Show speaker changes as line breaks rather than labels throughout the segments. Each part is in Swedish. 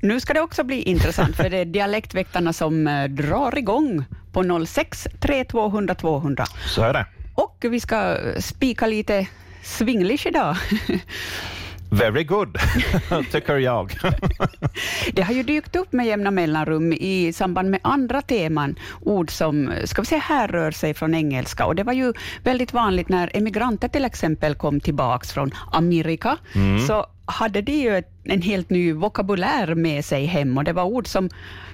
Nu ska det också bli intressant, för det är dialektväktarna som eh, drar igång på 06 3200 200.
Så är det.
Och vi ska eh, spika lite swinglish idag.
Very good, tycker jag.
Det har ju dykt upp med jämna mellanrum i samband med andra teman, ord som eh, ska vi säga, härrör sig från engelska. Och det var ju väldigt vanligt när emigranter till exempel kom tillbaks från Amerika, så hade de ju ett- en helt ny vokabulär med sig hem och det var ord som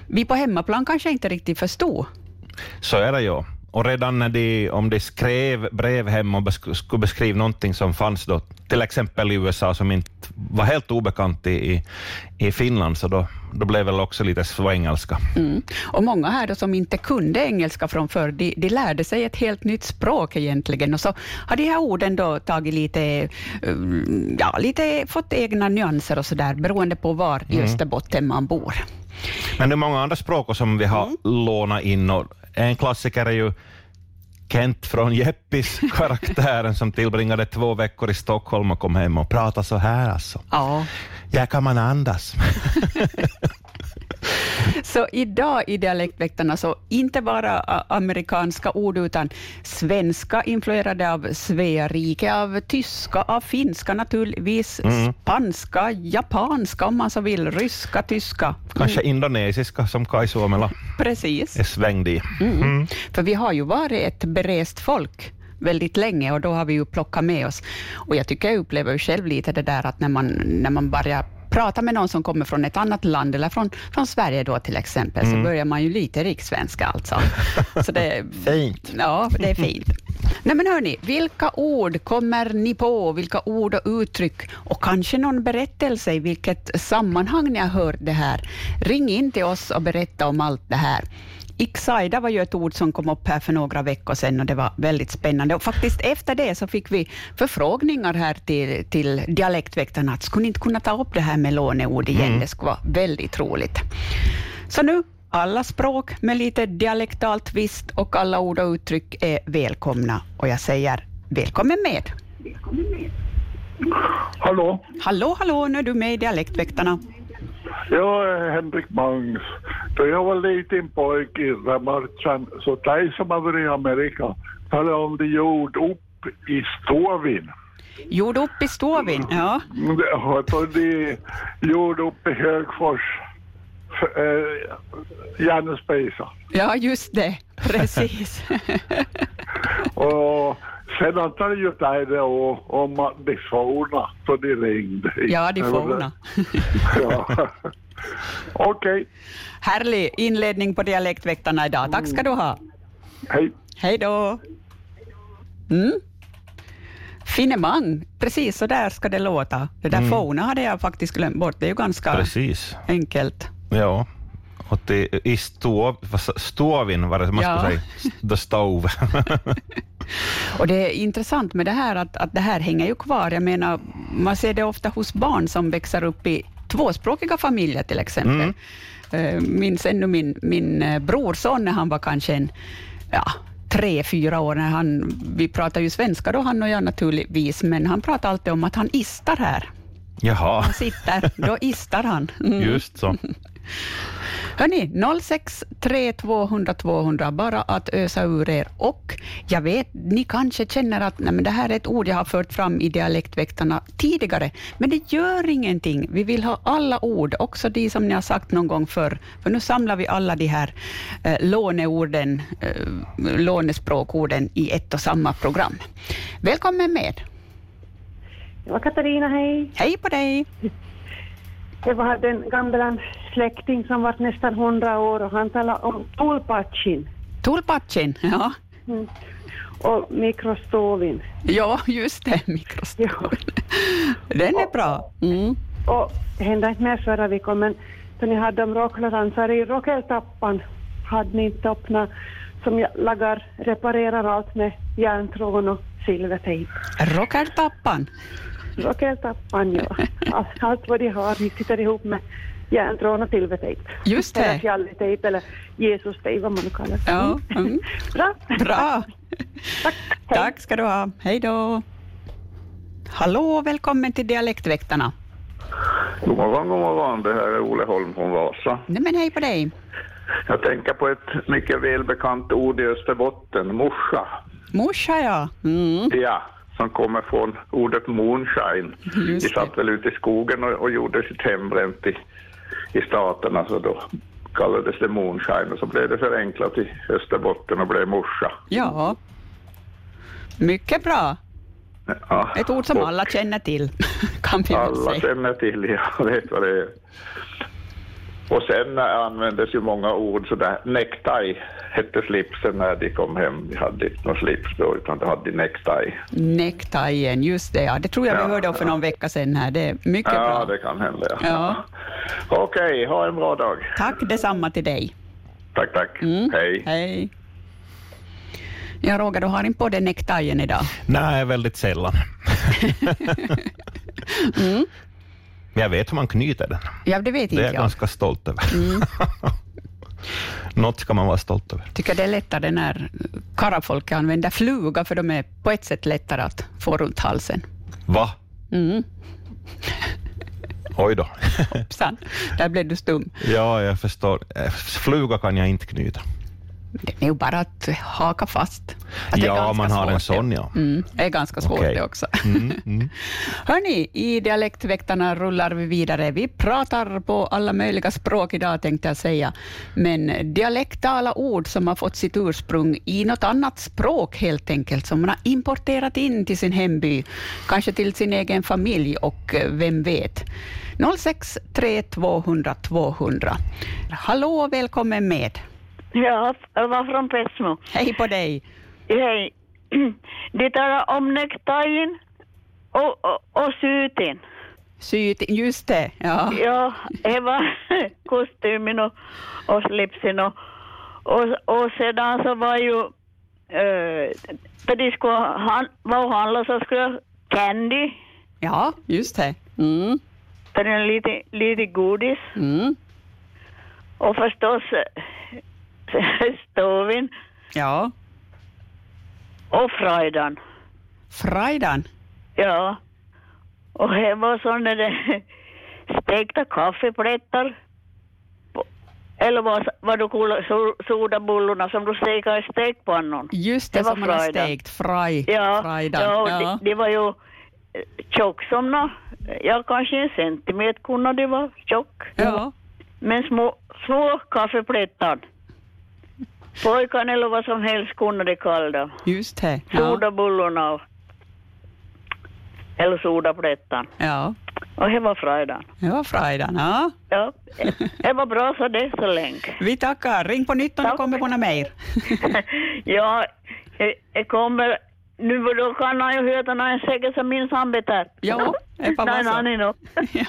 vi på hemmaplan kanske inte riktigt förstod.
Så är det ju. Och redan när de, om de skrev brev hem och besk- skulle beskriva någonting som fanns då, till exempel i USA som inte var helt obekant i, i, i Finland, så då, då blev det väl också lite svengelska.
Mm. Och många här då som inte kunde engelska från förr, de, de lärde sig ett helt nytt språk egentligen. Och så har de här orden då tagit lite, eh, ja, lite fått egna nyanser och sådär, beroende på var i Österbotten man bor.
Men det är många andra språk som vi har lånat in och en klassiker är ju Kent från Jeppis, karaktären som tillbringade två veckor i Stockholm och kom hem och pratade så här alltså.
Ja.
Ja, kan man andas?
Så idag i Dialektväktarna, så inte bara ä, amerikanska ord, utan svenska influerade av Svea rike, av tyska, av finska naturligtvis, spanska, japanska om man så vill, ryska, tyska.
Kanske
Mm.
indonesiska som Kai Suomela
Precis.
är svängd i.
Mm. För vi har ju varit ett berest folk väldigt länge och då har vi ju plockat med oss. Och jag tycker jag upplever ju själv lite det där att när man, när man börjar prata med någon som kommer från ett annat land eller från, från Sverige då till exempel, så börjar man ju lite rikssvenska alltså. Så det,
Fint.
Ja, det är fint. Nej men hörni, vilka ord kommer ni på? Vilka ord och uttryck? Och kanske någon berättelse i vilket sammanhang ni har hört det här. Ring in till oss och berätta om allt det här. Iksaida var ju ett ord som kom upp här för några veckor sedan och det var väldigt spännande. Och faktiskt efter det så fick vi förfrågningar här till, till dialektväktarna att skulle ni inte kunna ta upp det här med låneord igen? Det skulle vara väldigt roligt. Så nu, alla språk med lite dialektalt twist och alla ord och uttryck är välkomna. Och jag säger välkommen med.
Hallå?
Hallå, hallå, nu är du med i Dialektväktarna.
Jag är Henrik Mangs. Då jag var liten pojk i Ramarchan så de som har varit i Amerika talade om det gjorde upp i Stovin.
Gjord upp i Stovin, ja.
Men Mm, det- Och då de gjorde upp i Högfors, f- eh, Jänespejsa.
Ja, just det. Precis.
Och sen antar ju de det och- om att de forna, så de ringde.
ja, de forna.
Ja. Okej,
Härlig inledning på Dialektväktarna idag. Tack ska du ha.
hej.
Hej då! Mm. Finemang, precis så där ska det låta. Det
Mm.
där forna hade jag faktiskt glömt bort. Det är ju ganska
Precis.
enkelt.
Ja. Och det, I stov, vad sa- stovin var det man
Ja.
skulle säga. The stove.
Och det är intressant med det här att, att det här hänger ju kvar. Jag menar, man ser det ofta hos barn som växer upp i tvåspråkiga familjer till exempel. Eh, Minns ännu min, min eh, brorson när han var kanske en, ja, tre, fyra år. När han, vi pratar ju svenska då, han och jag naturligtvis, men han pratar alltid om att han istar här.
Jaha,
Han sitter, då istar han. Mm.
just så.
Hörni, 063 200 200, bara att ösa ur er. Och jag vet, ni kanske känner att nej, men det här är ett ord jag har fört fram i dialektväktarna tidigare, men det gör ingenting. Vi vill ha alla ord, också de som ni har sagt någon gång förr, för nu samlar vi alla de här eh, låneorden, eh, lånespråkorden i ett och samma program. Välkommen med.
Det var Katarina, hej.
Hej på dig!
Jag hade en gammal släkting som var nästan 100 år och han talade om tulpatsin Mm.
Tulpatsin, ja.
och mikrostovin.
Ja, just det, mikrostolen. Den är bra. Mm.
Och det hände inte mer förra veckan, men då ni hade om rocklardansare i rockeltappan hade ni inte öppnat som jag lagar, reparerar allt med järntrån och silvertejp.
Rockartappan.
Rockeltappan, ja. Allt- Allt vad de har, de sitter ihop med järntrån och silvertejp.
Just det.
Eller fjalletejp eller Jesus-tejp, vad man nu kallar det.
Ja, mm.
Bra.
Bra.
Tack. Hej.
Tack ska du ha. Hej då. Hallå, välkommen till Dialektväktarna.
God morgon, god morgon. Det här är Ole Holm från Vasa.
Nej, men hej på dig.
Jag tänker på ett mycket välbekant ord i Österbotten, morsa.
Morsa, ja. Mm.
Ja, som kommer från ordet moonshine.
Just
Vi
det.
satt väl ute i skogen och, och gjorde sitt hembränt i, i staterna så då kallades det moonshine och så blev det förenklat i Österbotten och blev morsa.
Ja. Mycket bra.
Ja.
Ett ord som
Och
alla känner till, kan vi väl
alla
säga.
känner till, jag vet vad det är. Och sen användes ju många ord sådär, necktie hette slipsen när de kom hem. Vi hade inte någon slips då utan de hade necktie.
Necktajen, just det ja. Det tror jag vi
Ja,
hörde om för
ja.
någon vecka sedan här. Det är mycket
Ja,
bra.
det kan hända. Ja.
Ja.
Okej, ha en bra dag.
Tack detsamma till dig.
Tack, tack.
Mm.
Hej.
Hej. Ja, Roger, du har inte på dig necktajen idag.
Nej, väldigt sällan.
Mm.
Men jag vet hur man knyter den.
Ja, det vet
Det är
inte
jag
jag.
ganska stolt över.
Mm.
Något ska man vara stolt över.
Tycker det är lättare när karafolk använder fluga, för de är på ett sätt lättare att få runt halsen.
Va?
Mm.
Oj då.
Hoppsan, där blev du stum.
ja, jag förstår. Eh, Fluga kan jag inte knyta.
Det är ju bara att haka fast. Att det är
Ja,
ganska
man har en
svårt,
sån, ja.
Mm, det är ganska svårt
Okej.
det också.
Mm, mm.
Hörni, i Dialektväktarna rullar vi vidare. Vi pratar på alla möjliga språk idag, tänkte jag säga. Men dialektala ord som har fått sitt ursprung i något annat språk, helt enkelt, som man har importerat in till sin hemby, kanske till sin egen familj och eh, vem vet. 063 200 200. Hallå och välkommen med.
Ja, jag var från Petsmo.
Hej på dig.
Hej. De talar om nektajen och, och, och syten.
Syt, just det. Ja.
Ja, det var kostymen och, och slipsen och, och, och sedan så var ju, eh, när de skulle han, var och handla så skulle jag candy,
ja, just det. Mm,
det är lite, lite godis
mm.
och förstås eh, stoven
Ja,
och frajdan.
frajdan.
Ja. Och det var sådana där stekta kaffeplättar. På- Eller vad, vad du kallar so- sodabullarna som du stekar i stekpannan.
Just det,
Det var
som man har
frajdan.
stekt. Fraj,
Ja,
frajdan.
ja, och
ja.
Det, det var ju eh, tjock som nå. Ja, kanske en centimeter kunde det vara tjock.
ja.
Men små, små kaffeplättar. Pojkarna eller vad som helst kunde de kalla dem.
just det. Ja.
Sodabullarna. och- Eller sodaplättan.
ja,
Och det var frajdan.
det var frajdan. Ja.
Ja, det var bra så det så länge.
Vi tackar. Ring på nytt om det
Tack.
kommer på något mer.
ja, jag- jag kommer... Nu var- då kan han ju höra när han säger så minns han bättre.
Ja, det var
Nej,
så.
han är nog.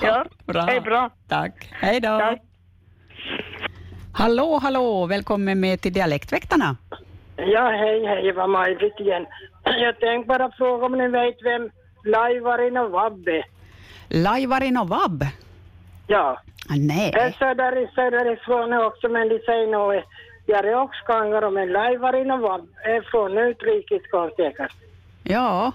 Ja, det är bra.
Tack. Hej då.
Tack.
Hallå, hallå. Välkommen med till Dialektväktarna.
Ja, hej, hej, det var Maj-Britt igen. Jag tänkte bara fråga om ni vet vem Laivarin och Vabbe är?
Laivarin och Vab.
Ja,
Ah, Nej.
det är söder, söderifrån också, men de säger nog Järjokskangar, men Laivarin och Vabbe är från utrikesgård säkert.
Ja,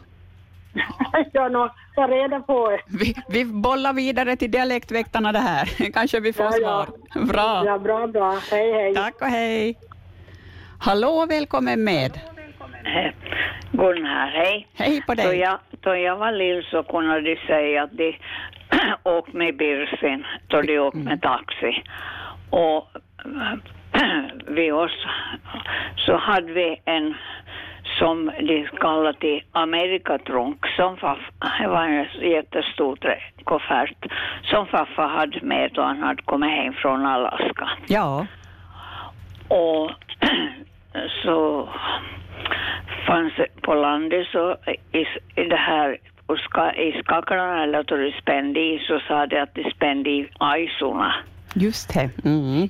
ja, nå, ta reda på det.
vi, vi bollar vidare till Dialektväktarna det här. Kanske vi får
Ja, ja.
svar. Bra.
Ja, bra, bra. Hej, hej.
Tack och hej. Hallå, välkommen med.
Gunnar, hej.
Hej på
Då
dig.
jag, då jag var lill så kunde de säga att de åkte med Birsin, då de åkte
Mm.
med taxi. Och vid oss så hade vi en som de kallade till Amerikatrunk som faffa, det var en jättestor trä- koffert som farfar hade med då han hade kommit hem från Alaska.
Ja,
Och så fanns det på landet så i, i det här och ska, i skaklarna eller då du spände i så sa de att de spände i ajsorna.
just det. Mm.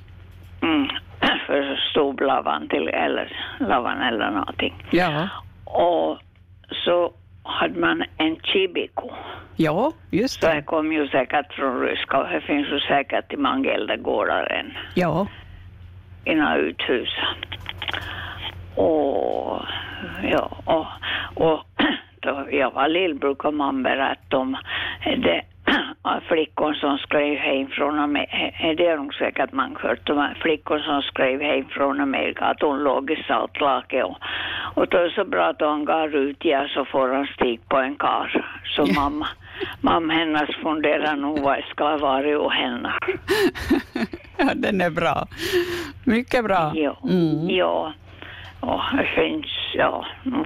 Mm. För stoblavan till eller lavan eller någonting.
Ja.
Och så hade man en chibiko.
ja, just
Så det
det.
kom ju säkert från ryska och det finns ju säkert i många eldagårdar än.
Ja,
innan uthusen. Och, ja, och, och då jag var lill brukade man berätta om det av flickor som skrev hem från Amerika, det har nog säkert man hört, de här flickor som skrev hem från Amerika att hon låg i saltlake och, och det var så bra att hon gav ut ja, så får han stig på en kar. Så mamma, mamma hennes funderar nog vad jag ska ha varit och henne.
Ja, den är bra. Mycket bra.
Ja,
Mm.
ja. Och det finns, ja. Nu,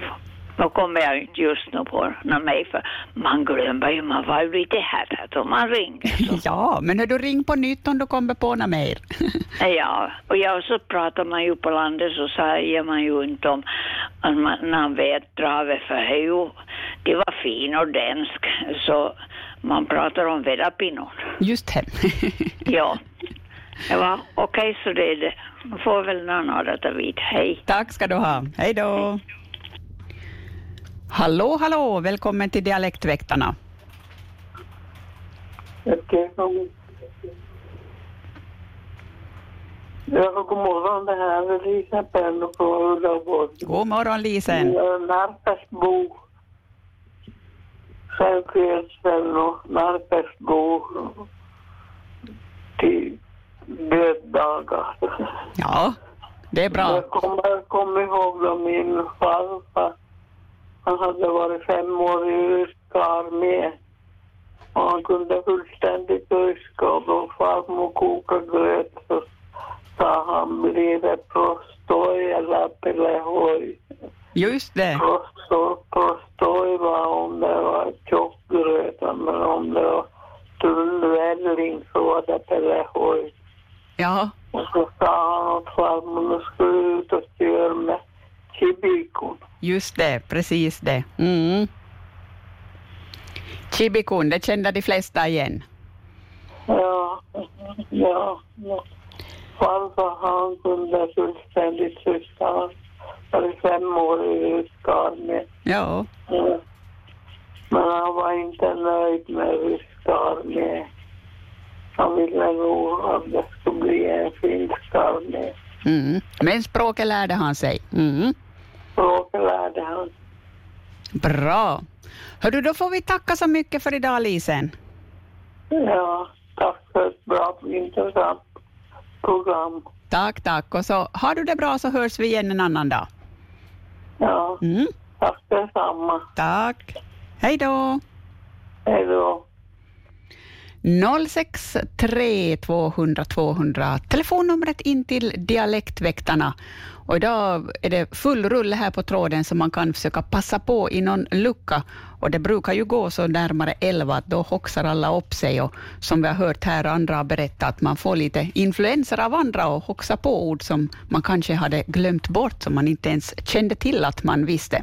nu kommer jag inte just nu på någon mig för man glömmer ju, man var ju lite här då man ringde.
Ja, men hör du ring på nytt om du kommer på något mer.
Ja, och ja, så pratar man ju på landet så säger man ju inte om att man, när man vet travet för det är ju, det var fin och dansk så man pratar om vedapinon.
Just hem.
Ja, det var okej så det är det. Nu får väl någon av det ta vid. Hej.
Tack ska du ha. Hej då. Hallå, hallå, välkommen till Dialektväktarna.
Okej. Ja, god morgon. Det här är Lisa Pello från Ullaborg.
God morgon, Lisen.
Jag är Närpesbo. Sävsjösvenno, Närpesbo. Till döddagar.
Ja, det är bra.
Jag kommer, kommer ihåg då min farfar. Han hade varit fem år i ryska armén. Och han kunde fullständigt ryska och då farmor kokade gröt så sa han blir det prostoj eller pelehoj.
Just det.
Prostoj, prostoj var om det var tjockgröt men om det var tunn välling så var det pelehoj.
Ja,
Och så sa han åt farmor, nu ska du ut och köra med Chibikon.
just det. Precis det. Mm. Chibikun, det kände de flesta igen.
Ja, ja, ja. Farfar han kunde fullständigt tyska. Han var fem år i ryska armén.
Ja,
Ja. Men han var inte nöjd med ryska armén. Han ville nog att det skulle bli en finsk armé.
mm. men språket lärde han sig. Mm.
Språket lärde han.
Bra. Hördu, då får vi tacka så mycket för idag, Lisen.
Ja, tack för ett bra, intressant program.
Tack, tack. Och så har du det bra så hörs vi igen en annan dag.
Ja,
Mm.
tack detsamma.
Tack. Hej då.
Hej då.
063 200 200, telefonnumret in till Dialektväktarna. Och idag är det full rulle här på tråden så man kan försöka passa på i någon lucka. Och det brukar ju gå så närmare 11 att då hoxar alla upp sig och som vi har hört här andra har berättat att man får lite influenser av andra och hoxar på ord som man kanske hade glömt bort som man inte ens kände till att man visste.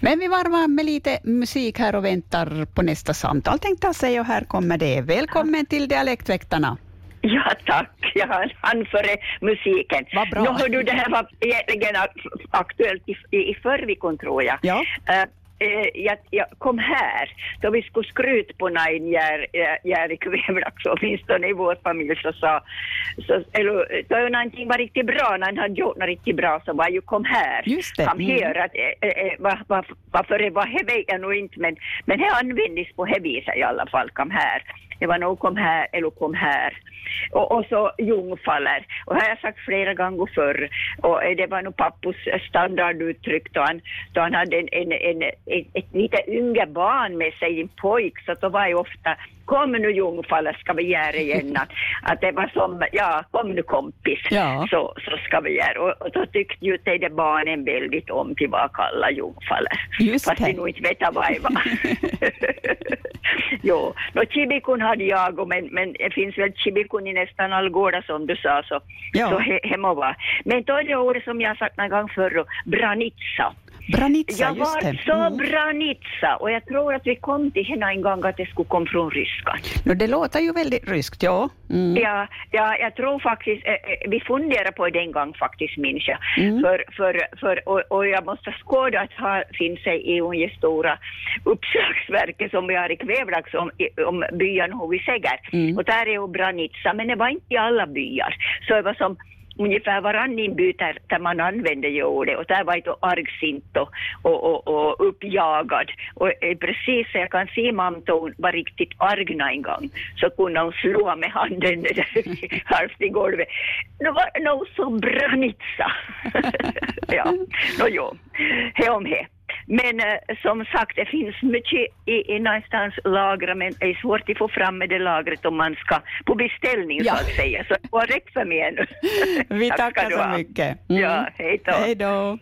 Men vi varvar med lite musik här och väntar på nästa samtal tänkte jag säga och här kommer det. Välkommen till Dialektväktarna.
Ja tack, jag hann- hann före musiken.
Vad bra.
Nu hör du, det här var egentligen ak- aktuellt i, i förrvikon tror jag.
Ja.
Eh, eh, jag, jag kom här, då vi skulle skryta på Nain Jär Jär- Jär i Kvävlax, åtminstone i vår familj, så sa, så, eller eh, då någonting var riktigt bra, när han hade gjort något riktigt bra så var ju kom här.
Just det.
Kom
Mm.
här, att, eh, eh, va, va, varför det var här vet jag nog inte, men, men det användes på det viset i alla fall, kom här. Det var nog kom här eller kom här. Och, och så jungfaller. Och här har jag sagt flera gånger förr. Och eh, det var nog pappos standarduttryck då han, då han hade en, en, en, ett, ett lite yngre barn med sig, en pojk, så då var det ofta Kom nu jungfaller ska vi göra igen. Att, att det var som, ja kom "Ah, nu kompis
Ja.
så, så ska vi göra. Och, och då tyckte ju det där barnen väldigt om till vad kalla jungfaller.
Just
Fast
det.
de nog inte vet vad det var. jo, no, chibikun hade jag, och men, men det finns väl chibikun i nästan all gårda som du sa, så,
Ja.
så he, hemma var. Men då är det ordet som jag sagt någon gång förr, branitsa.
Branitsa,
Jag
just
var
det. Mm.
så branitsa och jag tror att vi kom till henne en gång att det skulle komma från ryskan.
Nå, det låter ju väldigt ryskt, ja. Mm.
Ja, ja, jag tror faktiskt, eh, eh, vi funderade på det en gång faktiskt minns jag. För, för, för, och, och jag måste skåda att här finns det i det stora uppslagsverket som vi har i Kvävlax om, i- om byn Hovisäger. Och där är ju Branitsa, men det var inte i alla byar. Så det var som ungefär varann inbyte där man använde ju ordet och där var det då argsint och, och, och, och uppjagad. Och eh, precis så jag kan se mamton var riktigt argna en gång så kunde hon slå med handen där halvt i golvet. Nu var det nog så branitsa. ja, nå jo, he om he. Men eh, som sagt, det finns mycket i, i någonstans lagra, men det är svårt att få fram med det lagret om man ska på beställning
Ja.
så att säga. Så det var rätt för mig ännu.
Vi
Tack ska
tackar
du
så
ha.
mycket. Mm.
Ja, hej då.
Hej då.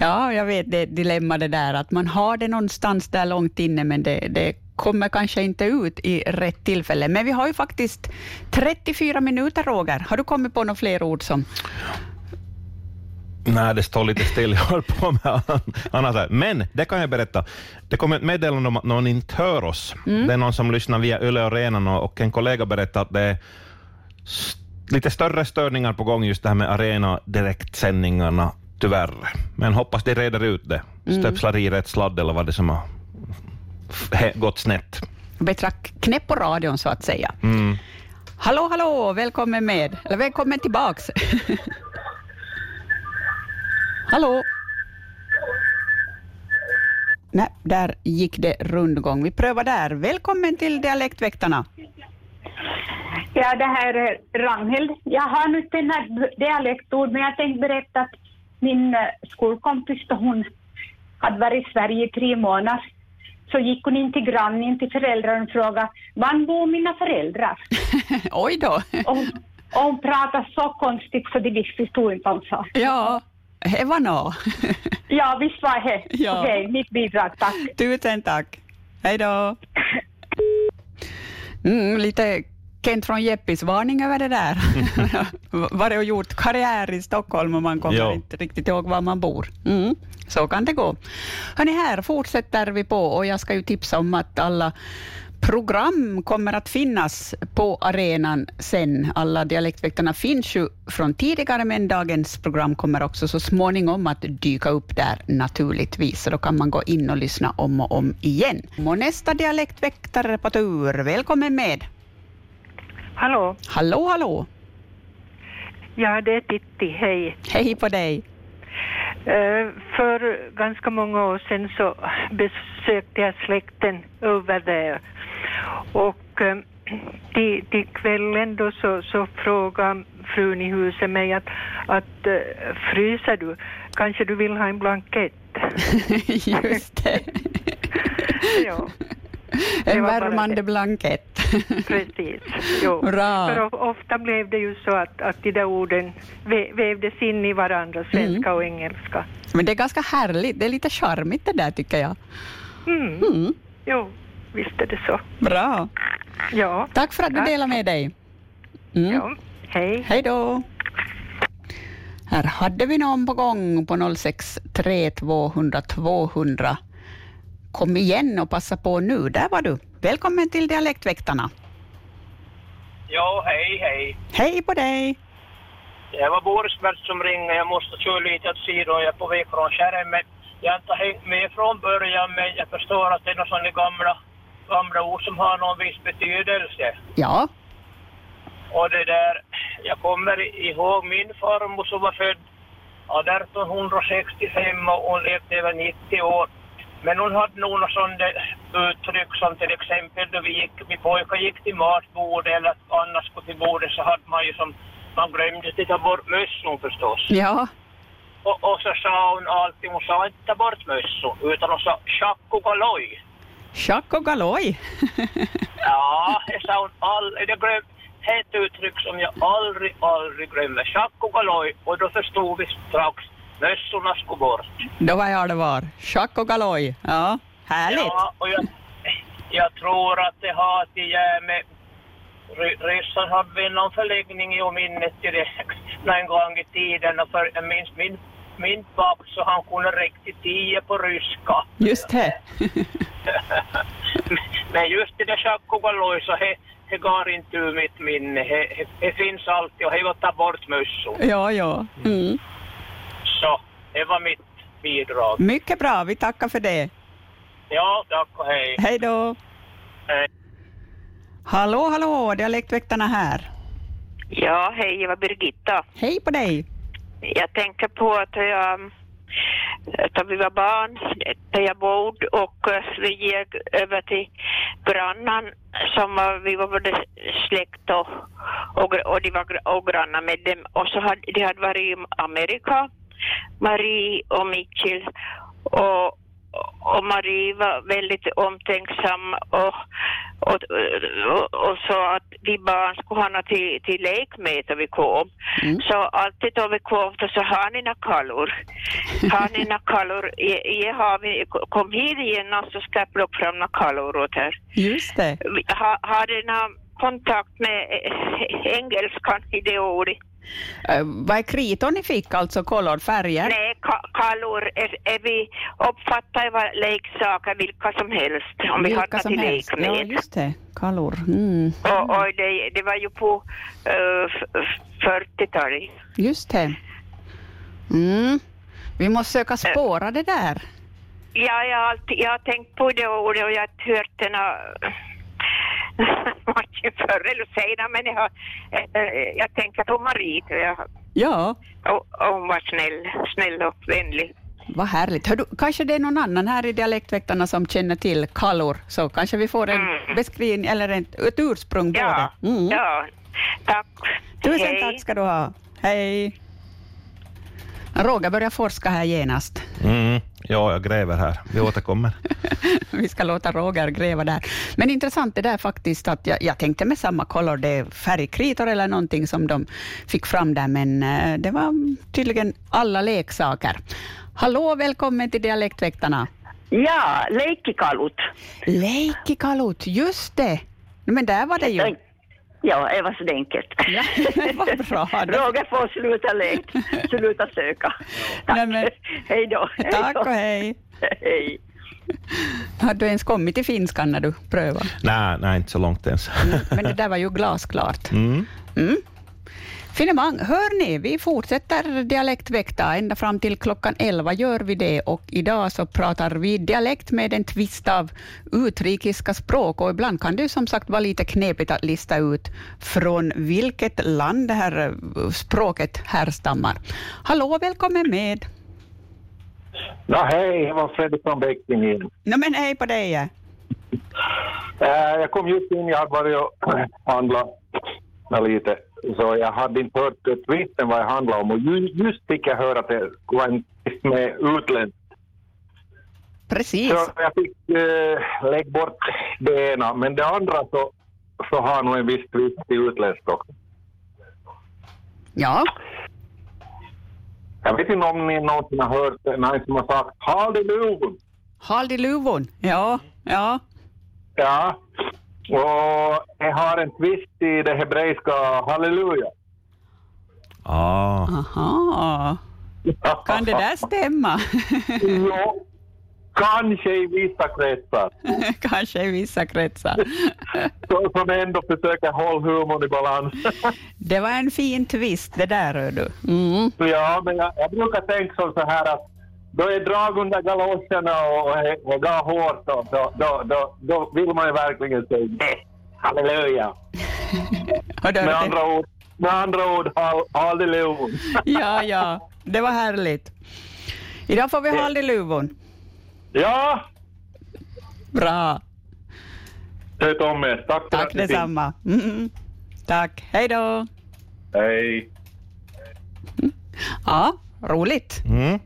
Ja, jag vet det är ett dilemma det där att man har det någonstans där långt inne, men det, det kommer kanske inte ut i rätt tillfälle. Men vi har ju faktiskt 34 minuter, Roger. Har du kommit på några fler ord som...
Nej, det står lite still. Jag håller på med annat här. Men det kan jag berätta. Det kom ett meddelande om att någon inte hör oss. Det är någon som lyssnar via Yle Arenan och, och en kollega berättade att det är s- lite större störningar på gång just det här med arena direktsändningarna tyvärr. Men hoppas de reder ut det. Stöpslar i rätt sladd eller vad det som har f- he- gått snett. Mm.
Betrak knäpp på radion, så att säga. Hallå, hallå, välkommen med. Eller välkommen tillbaks. hallå. Nej, där gick det rundgång. Vi prövar där. Välkommen till Dialektväktarna.
Ja, det här är Ragnhild. Jag har nu den här dialektord, men jag tänkte berätta att min eh, skolkompis då hon hade varit i Sverige i tre månader så gick hon in till grannen, till föräldrarna och frågade var bor mina föräldrar?
Oj då.
Och, hon- och hon pratade så konstigt så det visste förstod inte vad hon sa.
Ja, det var nå.
Ja, visst var det.
Ja.
Okej, mitt bidrag, tack.
Tusen tack. Hej då. Mm, lite Kent från Jeppis varning över det där. Var det och gjort karriär i Stockholm och man kommer
Ja.
inte riktigt ihåg var man bor. Mm, så kan det gå. Hörni, här fortsätter vi på och jag ska ju tipsa om att alla program kommer att finnas på arenan sen. Alla dialektväktarna finns ju från tidigare, men dagens program kommer också så småningom att dyka upp där naturligtvis, så då kan man gå in och lyssna om och om igen. Och nästa dialektväktare på tur, välkommen med.
Hallå,
Hallå, hallå!
ja det är Titti, hej.
Hej på dig!
Eh, För ganska många år sedan så besökte jag släkten över där. Och eh, till, till kvällen då så, så frågade frun i huset mig att, att eh, fryser du? Kanske du vill ha en blankett?
Just det.
ja, det
En
var bara
värmande
det.
blankett.
precis. Jo.
Bra.
För of- ofta blev det ju så att, att de där orden vä- vävdes in i varandra,
Mm.
svenska och engelska.
Men det är ganska härligt, det är lite charmigt det där tycker jag.
Mm.
Mm.
Jo, visst är det så.
Bra!
Ja.
Tack för att du
Tack.
delade med dig. Mm.
ja. Hej.
Hej då! Här hade vi någon på gång på 063 200 200. Kom igen och passa på nu. Där var du. Välkommen till Dialektväktarna.
Ja, hej, hej.
Hej på dig!
Det var Borisbert som ringde. Jag måste köra lite åt sidan. Jag är på väg från Kärren, jag har inte hängt med från början. Men jag förstår att det är några sådana gamla, gamla ord som har någon viss betydelse.
Ja,
Och det där, jag kommer ihåg min farmor som var född ja, 1865 och hon levde över 90 år. Men hon hade nog något sånt där uttryck som till exempel då vi gick, vi pojkar gick till matbordet eller annars på till bordet så hade man ju som, man glömde att ta bort mössan förstås.
ja,
Och, och så sa hon alltid, hon sa inte ta bort mössan utan hon sa tjack och galoj.
tjack och galoj.
Ja, jag sa hon all, det blev ett uttryck som jag aldrig, aldrig glömmer. Tjack och galoj. Och då förstod vi strax. Mössorna skulle bort.
Då var jag det var. Tjack och galoj. Ja, härligt.
Ja, och jag, jag tror att det har att göra med... Ry- Ryssar hade vi någon förläggning i minnet direkt någon gång i tiden. Och för, jag minns min, min pappa så han kunde riktigt tio på ryska.
Just det.
Men just det där tjackogalloj så he, he går inte ur mitt minne. He, he, he finns alltid och he var ta bort mössor.
Ja, ja. Mm.
Så, det var mitt bidrag.
Mycket bra, vi tackar för det.
Ja, tack och hej.
Hej då!
Hej.
Hallå, hallå, dialektväktarna här.
Ja, hej, det var Birgitta.
Hej på dig!
Jag tänker på att jag, då vi var barn, där jag bodde och eh, vi gick över till grannan som var, vi var både släkt och, och, gr- och de var gr- och grannar med dem och så hade de hade varit i Amerika, Marie och Mitchell och, och Marie var väldigt omtänksam och, och, och, och sa att vi barn skulle ha något till, till lek med när vi kom.
Mm.
Så alltid då vi kom så sa har ni några kallor? Har ni några kallor? "Ja, ja, har vi, kom hit igen och så ska jag plocka fram några kallor åt er.
Just det.
Vi har, har ni någon kontakt med eh, engelskan i det ordet?
Eh, vad är kritor ni fick, alltså kolorfärger?
Nej, ka- kallor är, är vi uppfattar ju vad leksaker, vilka som helst, om vi har något till lek med.
Ja, just det. Kalor. Mm.
Och, och det, det var ju på eh, f- f- 40-talet.
Just det. Mm. Vi måste söka spåra det där.
Ja, jag har, alltid, jag har tänkt på det och, och jag har hört den här matchen förr eller senare, men jag, har, eh, jag tänker på Marie. tror Jag,
Ja.
och, och hon var snäll, snäll och vänlig.
Vad härligt. Hör du, kanske det är någon annan här i Dialektväktarna som känner till kallor, så kanske vi får en beskrivning eller ett, ett ursprung ja. på det. Mm.
Mm. Ja, tack.
Tusen
Hej.
tack ska du ha. Hej. Roger börjar forska här genast.
Mm. Ja, jag gräver här. Vi återkommer.
Vi ska låta Roger gräva där. Men intressant det där faktiskt att jag, jag tänkte med samma kolor, det är färgkritor eller någonting som de fick fram där, men eh, det var tydligen alla leksaker. Hallå, välkommen till Dialektväktarna.
Ja, leikkikalut.
Leikkikalut, just det. No, Men där var det ju.
Ja, det var så enkelt.
Ja, vad bra.
Roger får sluta lek, sluta söka. Tack. Hej då.
Tack och hej.
Hej.
Har du ens kommit till finskan när du prövar?
Nej, nej, inte så långt ens.
Men det där var ju glasklart.
Mm.
Mm. Finemang, hör ni, vi fortsätter dialektväkta ända fram till klockan 11 gör vi det och idag så pratar vi dialekt med en twist av utrikiska språk och ibland kan det ju som sagt vara lite knepigt att lista ut från vilket land det här eh, språket härstammar. Hallå, välkommen med!
Ja, hej, det var Fredrik från Bäckling igen.
No, men hej på dig! ja.
Eh, jag kom just in, jag hade varit och handlat med lite, så jag hade inte hört eh, twisten vad jag handlade om och ju, just fick jag höra att det var en twist med utländskt.
Precis.
Så jag fick eh, lägga bort det ena, men det andra så, så har nog en viss twist till utländskt också.
Ja.
Jag vet inte om ni någonsin har hört eh, någon som har sagt ”Halleluja”.
Haldi luvon, ja, ja.
Ja, och jag har en twist i det hebreiska halleluja.
Ah.
Aha. Kan det där stämma?
ja, kanske i vissa kretsar.
Kanske i vissa kretsar.
Så- Som ändå försöker hålla humorn i balans.
Det var en fin twist det där, hör du. Mm.
ja, men jag, jag brukar tänka som så här att då är drag under galoscherna och, och, och går hårt och då, då, då, då vill man ju verkligen säga det. Halleluja. med, andra ord, med andra ord, hall, halleluja.
Ja, ja, det var härligt. Idag får vi Haldi luvon.
Ja!
Bra.
Sköt om er. Tack för
Tack
att ni fick.
detsamma. Mm. Tack, hej då.
Hej.
Ja, roligt.
Mm.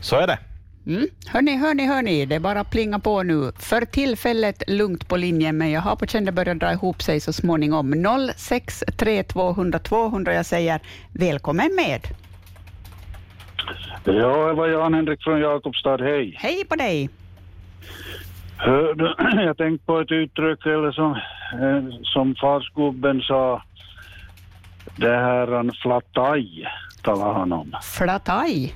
Så är det.
Mm. Hörni, hörni, hörni, det bara plinga på nu. För tillfället lugnt på linjen, men jag har på känn det börjar dra ihop sig så småningom. 063 200 200, jag säger välkommen med.
Ja, det var Jan-Henrik från Jakobstad. Hej!
Hej på dig!
Hör du, Jag tänkte på ett uttryck eller som, eh, som farsgubben sa. Det här en flataj talade han om.
Flataj.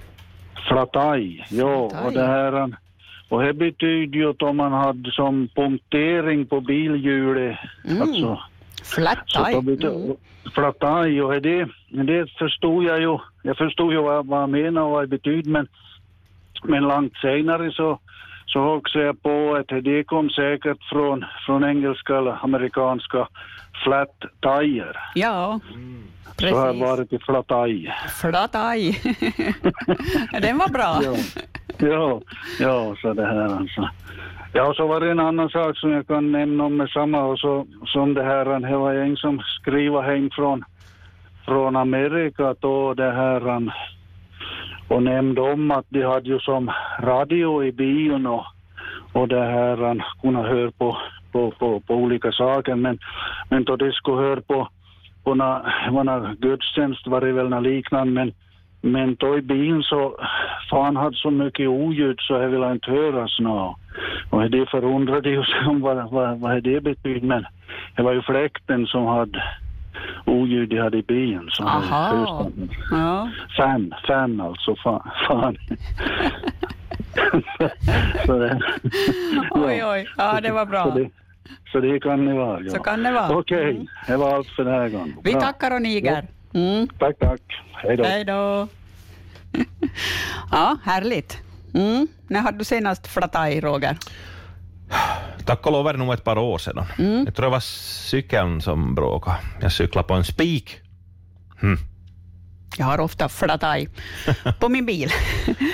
Flataj, ja. Och det här en, och det betyder ju att om man hade som punktering på bilhjulet.
Mm.
Alltså, så
Flataj.
då blir det-
Mm.
Flataj, och det, det förstod jag ju. Jag förstod ju vad, vad han menade och vad det betydde, men, men långt senare så, så hoxade jag på att det kom säkert från, från engelska eller amerikanska flat tire.
Ja,
Så har jag
precis.
varit i flat tire.
Flat aj. Den var bra.
Ja. Ja, ja, så det här alltså. Ja, och så var det en annan sak som jag kan nämna om med samma och så, som det här, han, det var en som skriva hem från, från Amerika då det här han, och nämnde om att de hade ju som radio i bion och, och det här han kunde höra på, på, på, på olika saker men, men då de skulle höra på, på na, vad na, gudstjänst var det väl na liknande men men då i bilen så, fan hade så mycket oljud så jag ville inte höras nå. Och det förundrade ju sig om vad, vad, vad det betyder men det var ju fläkten som hade oljud de hade i bilen. Så
Aha. Ja.
Fan, fan alltså, fan. fan. så det,
Oj, oj. Ja, det var
Så
bra.
det, så det kan det vara. Ja.
Så kan det vara.
Okej,
Mm.
det var allt för den här gången.
Vi
Bra.
tackar och niger. Mm.
Tack, tack. Hej då.
Hej då. Ja, härligt. Mm. När hade du senast flataj, Roger?
Tack och lov är det nog ett par år sedan.
Mm.
Jag tror det var cykeln som bråkade. Jag cyklade på en spik. Mm.
Jag har ofta flataj på min bil.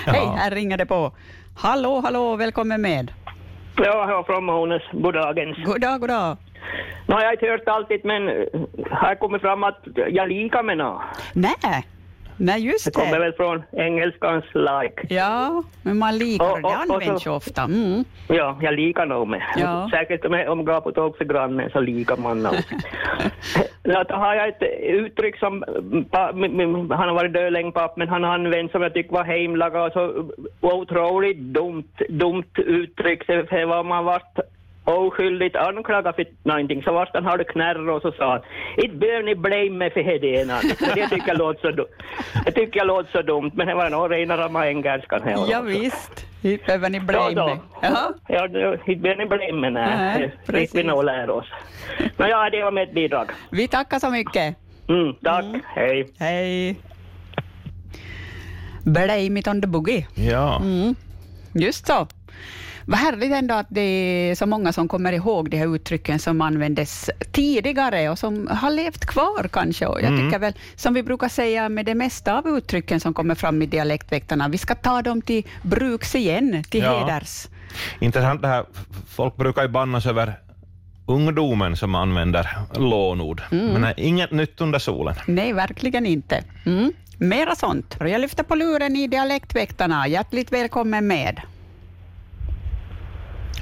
Hej, här ringer det på. Hallå, hallå, välkommen med.
Ja, här från Mahonäs. Goddagens.
God dag, god dag.
Nå, jag har inte hört alltid, men eh, här kommer fram att jag likar med nå.
Nej, nej just det.
Det kommer väl från engelskans like.
Ja, men man likar,
Och- och-
det
och så-
används ju ofta. Mm.
Ja, jag likar nog med.
Ja.
Säkert om jag om jag går på tåg för grannen så likar man nog. Nå, då har jag ett eh, uttryck som mm, pa, min, min, han har varit död länge papp, men han använt som jag tycker var heimlaga och så otroligt dumt, dumt uttryck. Så För vad man vart oskyldigt anklagad för någonting så vart han hade knärr och så sa han ”It behöver ni blame mig för hedenan”. Det tycker jag låter så, du- det tycker jag låter så dumt, men det var nog rena rama engelskan. här.
Ja, visst. Vi behöver ni
Ja,
blame
då.
mig. Jaha.
Ja, det det blir ni blimmen
Nej,
här. Det fick vi
precis.
nog lära oss. Men ja, det var mitt bidrag.
Vi tackar så mycket.
Mm, tack, hej.
Hej. Blame it on the boogie.
Ja.
Mm. Just så. Vad härligt ändå att det är så många som kommer ihåg de här uttrycken som användes tidigare och som har levt kvar kanske. Och jag
Mm.
tycker väl, som vi brukar säga med det mesta av uttrycken som kommer fram i dialektväktarna, vi ska ta dem till bruks igen, till
Ja.
heders.
Intressant det här. Folk brukar ju bannas över ungdomen som använder lånord.
Mm.
Men nej, inget nytt under solen.
Nej, verkligen inte. Mm. Mera sånt. Och Jag lyfter på luren i dialektväktarna. Hjärtligt välkommen med.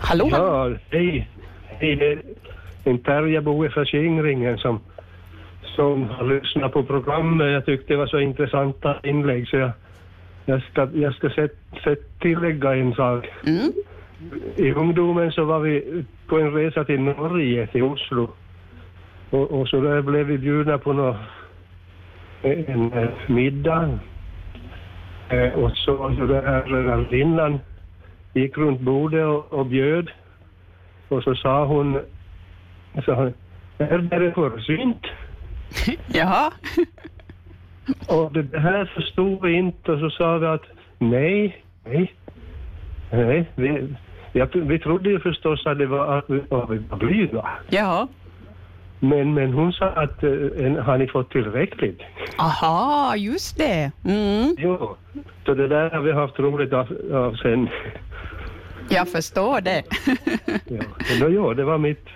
Hallå?
Ja, hej. Hej, det är en Terjabo från Kingringen som, som har lyssnat på programmet. Jag tyckte det var så intressanta inlägg så jag, jag ska, jag ska sätt, sätt tillägga en sak. I ungdomen så var vi på en resa till Norge, till Oslo. Och, och så där blev vi bjudna på nå en, eh, middag. Eh, och så, så där Linnan gick runt bordet och, och bjöd. Och så sa hon, sa hon är det där försynt?
Jaha.
och det det här förstod vi inte och så sa vi att nej, nej, nej. Vi, jag, vi trodde ju förstås att det var att vi att vi var blyga.
Ja.
Men, men hon sa att eh, en- har ni fått tillräckligt?
Aha, just det. Mm.
Jo. Så det där har vi haft roligt av, av sen.
Jag förstår det.
Men ja, det var mitt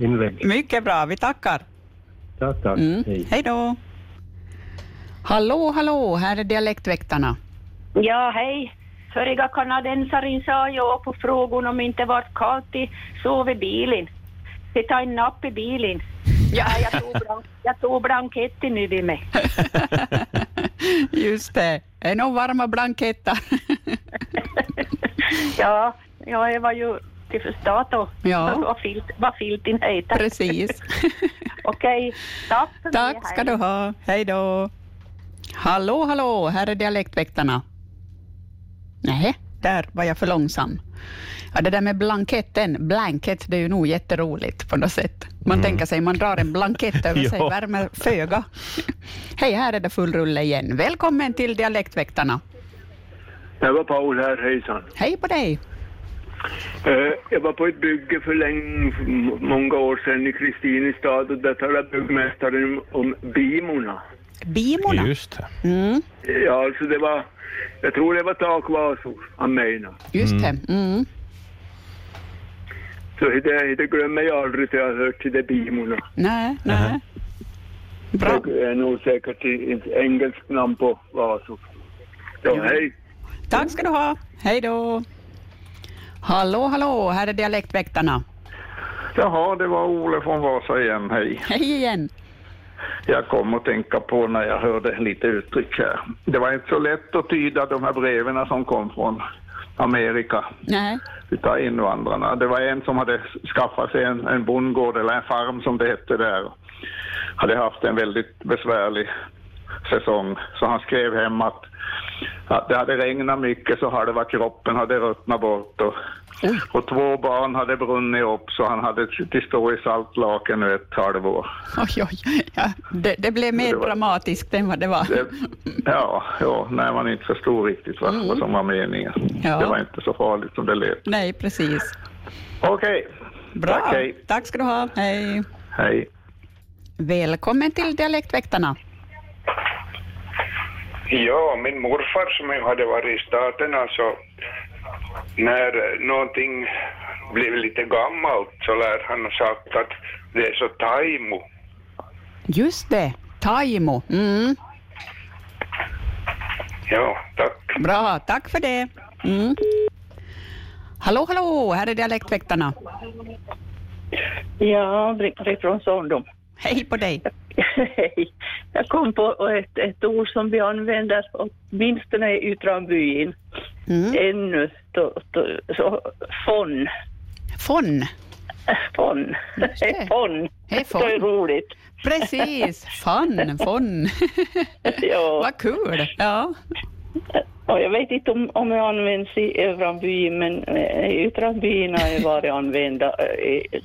inlägg.
Mycket bra, vi tackar. Mm.
Tack, tack. Hej.
Hej då. Hallå, hallå, här är dialektväktarna.
Ja, hej. Föriga kanadensaren sa ja på frågan om inte vart kallt i sov i bilen. Vi tar en napp i bilen. Ja, jag tog, blan- jag tog blanketten nu vid mig.
Just det, är nog varma blanketter.
Ja, ja, det var ju till förstat och
Ja.
vad, filt, vad filten heter.
Precis.
Okej, tack för
Tack ska du ha. Hej då. Hallå, hallå, här är dialektväktarna. Nej, där var jag för långsam. Ja, det där med blanketten, blanket, det är ju nog jätteroligt på något sätt. Man
Mm.
tänker sig, man drar en blankett över sig,
Ja.
värmer föga. Hej, här är det full rulle igen. Välkommen till dialektväktarna.
Det var Paul här, hejsan.
Hej på dig.
Eh, Jag var på ett bygge för länge, för m- många år sedan i Kristinestad och där talade byggmästaren om bimorna.
Bimorna.
Just det.
Mm,
Ja, alltså det var, jag tror det var takvasor han menade.
just det. Mm.
Så det, det glömmer jag aldrig, det jag har hört till de bimorna.
Nej, nej. Bra.
Det är nog säkert i- ett engelskt namn på vasor. Ja, hej.
Tack ska du ha. Hej då. Hallå, hallå, här är Dialektväktarna.
Jaha, det var Ole från Vasa igen, hej.
Hej igen.
Jag kom att tänka på när jag hörde lite uttryck här. Det var inte så lätt att tyda de här breven som kom från Amerika
Nej.
utav invandrarna. Det var en som hade skaffat sig en, en bondgård eller en farm som det hette där. Hade haft en väldigt besvärlig säsong så han skrev hem att, att det hade regnat mycket så halva kroppen hade ruttnat bort och, och två barn hade brunnit upp så han hade till stå i saltlaken nu ett halvår.
Oj, oj. Ja, det, det blev mer dramatiskt än vad det var.
Det, Eh, ja, ja, nej man inte förstod riktigt vad, vad som var meningen.
Ja.
Det var inte så farligt som det lät.
Nej, precis.
Okej,
Bra.
Tack, hej.
Tack ska du ha. Hej.
hej.
Välkommen till Dialektväktarna.
Ja, min morfar som ju hade varit i staten alltså, när eh, någonting blev lite gammalt så lär han ha sagt att det är så taimo.
Just det, Taimo. Mm.
Ja, tack.
Bra, tack för det. Mm. Hallå, hallå, här är Dialektväktarna.
Ja, Britt-Marie från Sondom.
Hej på dig!
Hej! Jag kom på ett, ett ord som vi använder åtminstone i Yttrambyn
Mm.
ännu. Då, då, så, fon.
Fon.
Fon. Hej fon.
Hej fon.
Det är roligt.
Precis, fun, fun.
ja.
Vad kul! Ja.
Och jag vet inte om, om jag används i Övrambyn, men eh, i Yttrambyn har jag varit använda eh, i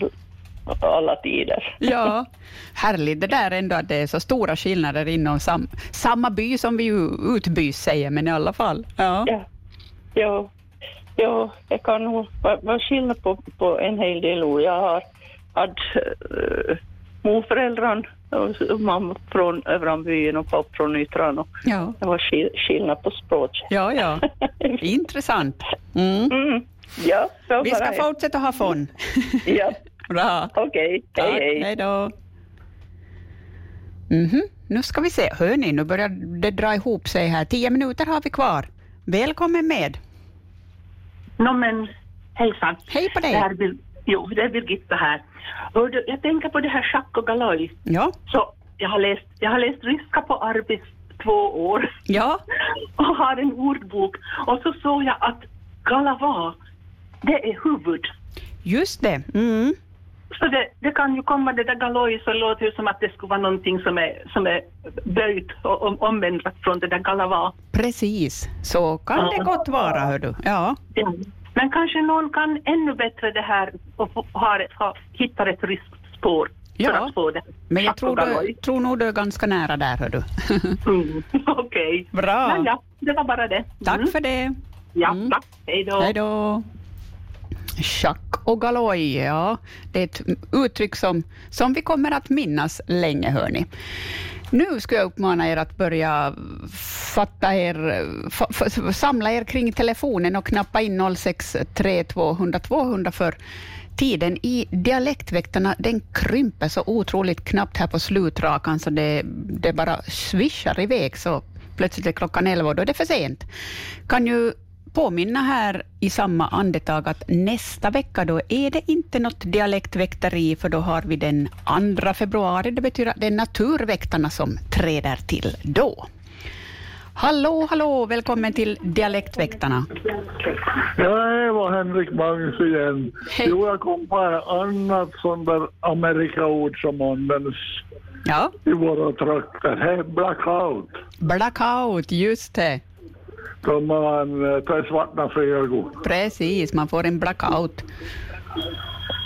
alla tider.
Ja, härligt det där ändå att det är så stora skillnader inom sam, samma by som vi ju utby säger, men i alla fall. Ja.
Ja. Ja, ja det kan nog vara vara skillnad på, på en hel del ord. Jag har haft äh, morföräldrar och s- mamma från Övranbyen och pappa från Yttran. och
Ja.
Det var skill- skillnad på språk.
Ja, ja. Intressant. Mm.
Ja, så
Vi ska
bara-
fortsätta ha fon.
Ja.
Bra.
Okej, hej,
Tack,
hej.
Hej då. Mhm. Nu ska vi se. Hör ni, nu börjar det dra ihop sig här. Tio minuter har vi kvar. Välkommen med.
Nå men, hejsan.
Hej på dig.
Det här, är Bir- jo, det är Birgitta här. Hör du, jag tänker på det här schack och galoj.
Ja.
Så jag har läst, jag har läst ryska på Arbis två år.
Ja.
Och har en ordbok. Och så såg jag att galava, det är huvud.
Just det. Mm.
Så det, det kan ju komma, det där galoj så låter det som att det skulle vara någonting som är, som är böjt och om, omvänt från det där galava.
Precis. Så kan
Ja.
det gott vara, hör du. Ja.
Ja. Men kanske någon kan ännu bättre det här och få- har, ha, hittar ett ryskt spår för att få det.
Men jag
Tack och
tror, du,
galloj.
tror nog du är ganska nära där, hör du.
Okej.
Bra.
Men ja, det var bara det. Mm.
Tack för det.
Ja, tack. Hej då.
Hej då. Schack och galoj, ja. Det är ett uttryck som, som vi kommer att minnas länge, hörni. Nu ska jag uppmana er att börja fatta er, fa, fa, samla er kring telefonen och knappa in 063 200 200 för tiden i Dialektväktarna den krymper så otroligt knappt här på slutrakan så det, det bara svischar iväg så plötsligt är klockan 11 och då är det för sent. Kan ju påminna här i samma andetag att nästa vecka då är det inte något dialektväkteri, för då har vi den 2 februari. Det betyder att det är naturväktarna som träder till då. Hallå, hallå, välkommen till Dialektväktarna.
Ja, det var Henrik Mangs igen. Jo, jag kom på ett annat sånt där amerikaord som används
ja.
i våra trakter. Hey, blackout.
Blackout, just det.
Då man eh, tar svarta frågor.
Precis, man får en blackout.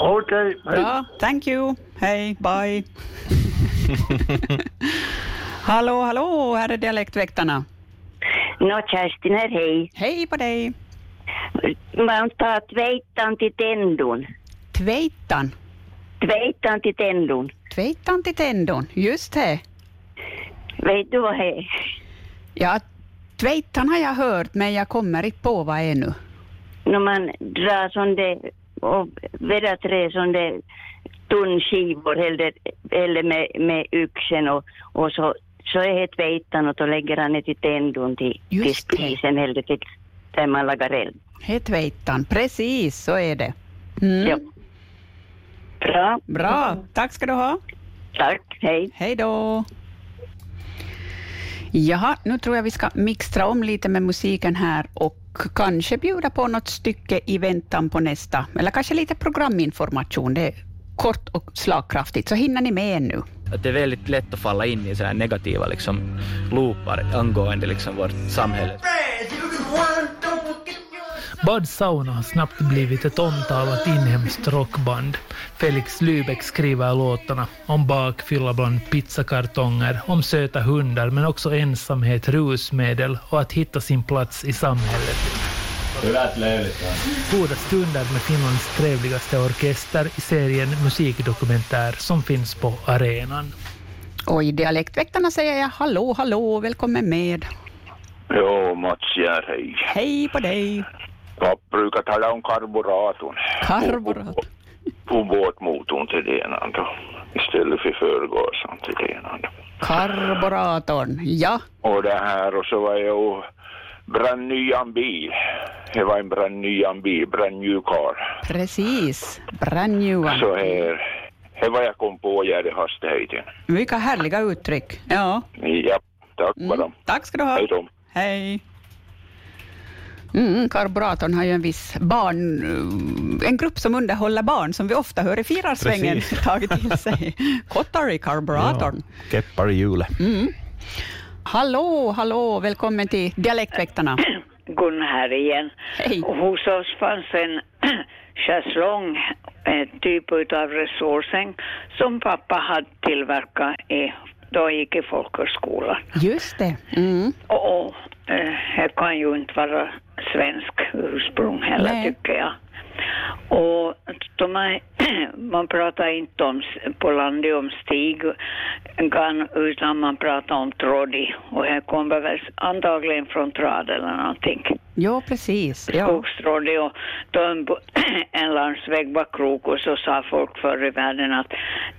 Okej, hej.
Bra, thank you. Hej, bye. hallå, hallå, här är Dialektväktarna.
Nå, Kerstin här, hej.
Hej på dig.
man tar tveitan till tändon.
Tveitan?
Tveitan till tändon.
Tveitan till tändon, just det.
Vet du vad det är?
Ja, tveitan har jag hört, men jag kommer inte på vad ännu.
När man drar som det och vedar trä som det tunnskivor eller, eller med, med yxen och, och så, så är det tveitan och då lägger han det till tändon till, till spisen eller till där man lagar eld.
Det tveitan, precis så är det. Mm.
Ja. Bra.
Bra, tack ska du ha.
Tack, hej.
Hej då. Jaha, nu tror jag vi ska mixtra om lite med musiken här och kanske bjuda på något stycke i väntan på nästa, eller kanske lite programinformation. Det är kort och slagkraftigt, så hinner ni med ännu.
Att det är väldigt lätt att falla in i sådana här negativa liksom, loopar angående liksom, vårt samhälle.
Bud Sauna har snabbt blivit ett omtalat inhemskt rockband. Felix Lübeck skriver låtarna om bakfylla bland pizzakartonger, om söta hundar men också ensamhet, rusmedel och att hitta sin plats i samhället.
Det lät löjligt.
Goda stunder med Finlands trevligaste orkester i serien Musikdokumentär som finns på arenan.
Och i Dialektväktarna säger jag hallå, hallå, välkommen med.
Jo, Mats här, hej.
Hej på dig.
Jag brukar tala om karboratorn.
Karborator.
Ubåtmotorn till det ena då. Istället för förgasaren till det ena då.
Karboratorn, ja.
Och det här och så var jag och brann nyan bil. Det var en brann nyan bil, brann new car.
Precis, brand new one.
Så här, det var jag kom på jag i hastigheten.
Vilka härliga uttryck. Ja,
Ja, tack
Mm,
bara.
tack ska du ha.
Hej då.
Hej. Mm, karboratorn har ju en viss barn, eh, en grupp som underhåller barn som vi ofta hör i firarsvängen
Precis.
tagit till sig. Kottar i karboratorn.
Keppar i hjulet.
Mm. Hallå, hallå, välkommen till Dialektväktarna.
Gunnar här igen. Och Hos oss fanns en schäslong, en typ utav resursäng som pappa hade tillverkat i, då jag gick i folkhögskolan.
Just det. Mm.
Och, och eh, jag kan ju inte vara svensk ursprung heller
Nej.
tycker jag. Och de här, man pratar inte om, s- på landet om stigan utan man pratar om trådi och här kommer väl antagligen från trad eller någonting
Ja, precis. Ja.
skogsrådet och då en, bo- en landsväg var krok och så sa folk förr i världen att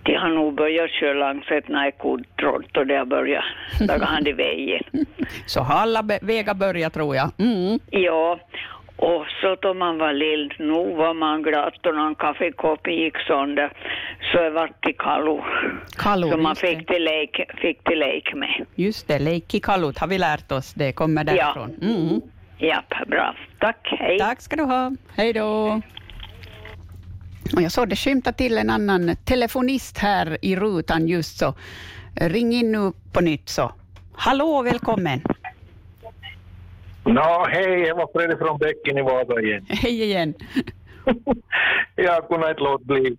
de har nog börjat köra langsötna i kodtråd och det har börjat laga hand i vägen.
Så har alla be- vägar börjat tror jag. Mm.
Ja, och så då man var lill, nu var man glad då någon kaffekopp gick sönder så det vart till kallo.
Kallo,
så man
just
fick till lek, fick till lek med.
Just det, leikkikalut har vi lärt oss. Det kommer därifrån. Mm.
Japp, bra. Tack, hej.
Tack ska du ha. Hej då. Och jag såg det skymta till en annan telefonist här i rutan just så. Ring in nu på nytt så. Hallå, välkommen.
Nå, hej, det var Fredrik från Bäcken i Vasa igen.
Hej igen.
Jag kunde inte låta bli.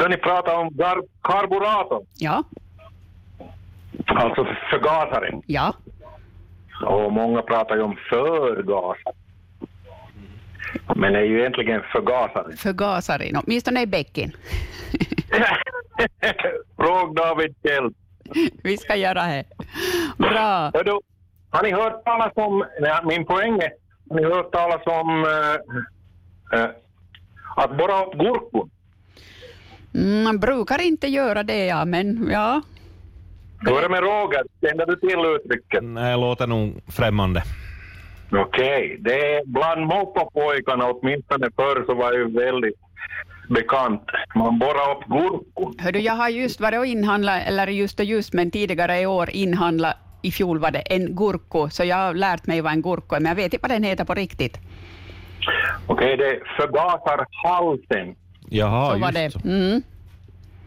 Då ni pratade om gar- karburator,
Ja,
alltså förgasare.
ja.
Och många pratar ju om förgasare. Men det är ju egentligen förgasare.
Förgasare, no, åtminstone i bäcken.
Fråg David själv.
Vi ska göra det. Bra.
Hördu, har ni hört talas om, nej, min poäng är, har ni hört talas om eh, eh, att borra upp gurkor?
Mm, man brukar inte göra det, ja, men ja.
Hur är det med Roger? Känner du till uttrycket?
Nej, låter nog främmande.
Okej, det är bland moppopojkarna, åtminstone förr så var det ju väldigt bekant. Man borrar upp gurkor.
Hördu, jag har just varit och inhandlat, eller just och just, men tidigare i år inhandlat, i fjol var det en gurko, så jag har lärt mig vad en gurko är, men jag vet inte vad den heter på riktigt.
Okej, det förgasar halsen.
Jaha,
så var det. Mm.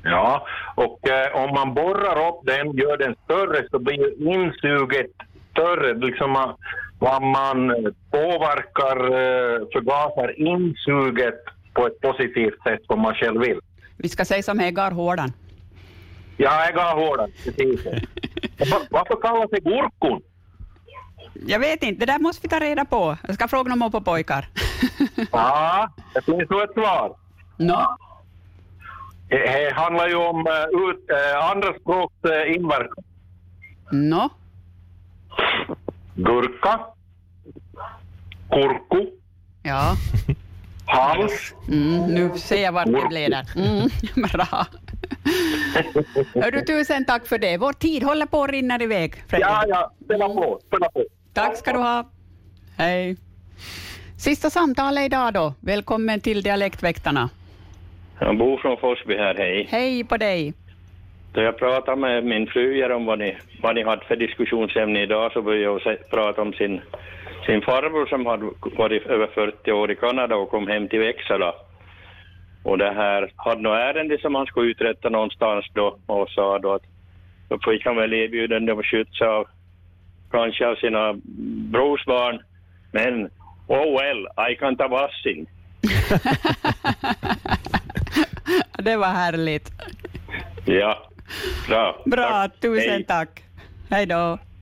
Ja, och eh, om man borrar upp den, gör den större, så blir ju insuget större. Liksom man, vad man eh, påverkar, eh, förgasar insuget på ett positivt sätt som man själv vill.
Vi ska säga som Hegar Hårdan.
Ja, jag har hårdare, precis. Va- Varför kallas det gurkon?
Jag vet inte, det där måste vi ta reda på. Jag ska fråga någon på pojkar.
Ja, det finns nog ett svar.
No.
Det handlar ju om eh, ut, eh, andra språks eh, inverkan.
No.
Gurka, kurku,
Ja.
hals.
Mm, nu ser jag vart det leder. Mm, bra. Hördu, tusen tack för det. Vår tid håller på att rinna iväg. Ja,
ja, spela på, spela på.
Tack ska du ha. Hej. Sista samtalet idag då. Välkommen till Dialektväktarna.
Jag bor från Forsby här, hej.
Hej på dig.
Då jag pratade med min fru här om vad ni, vad ni hade för diskussionsämne idag så började jag se- prata om sin, sin farbror som hade varit över 40 år i Kanada och kom hem till Växjö. Och det här hade något ärende som han skulle uträtta någonstans då och sa då att då fick han väl erbjudande om att skjutsa av kanske av sina brorsbarn. Men oh well, I can ta vassin.
Det var härligt.
Ja, bra.
Bra, tusen
Hej.
tack. Hej då.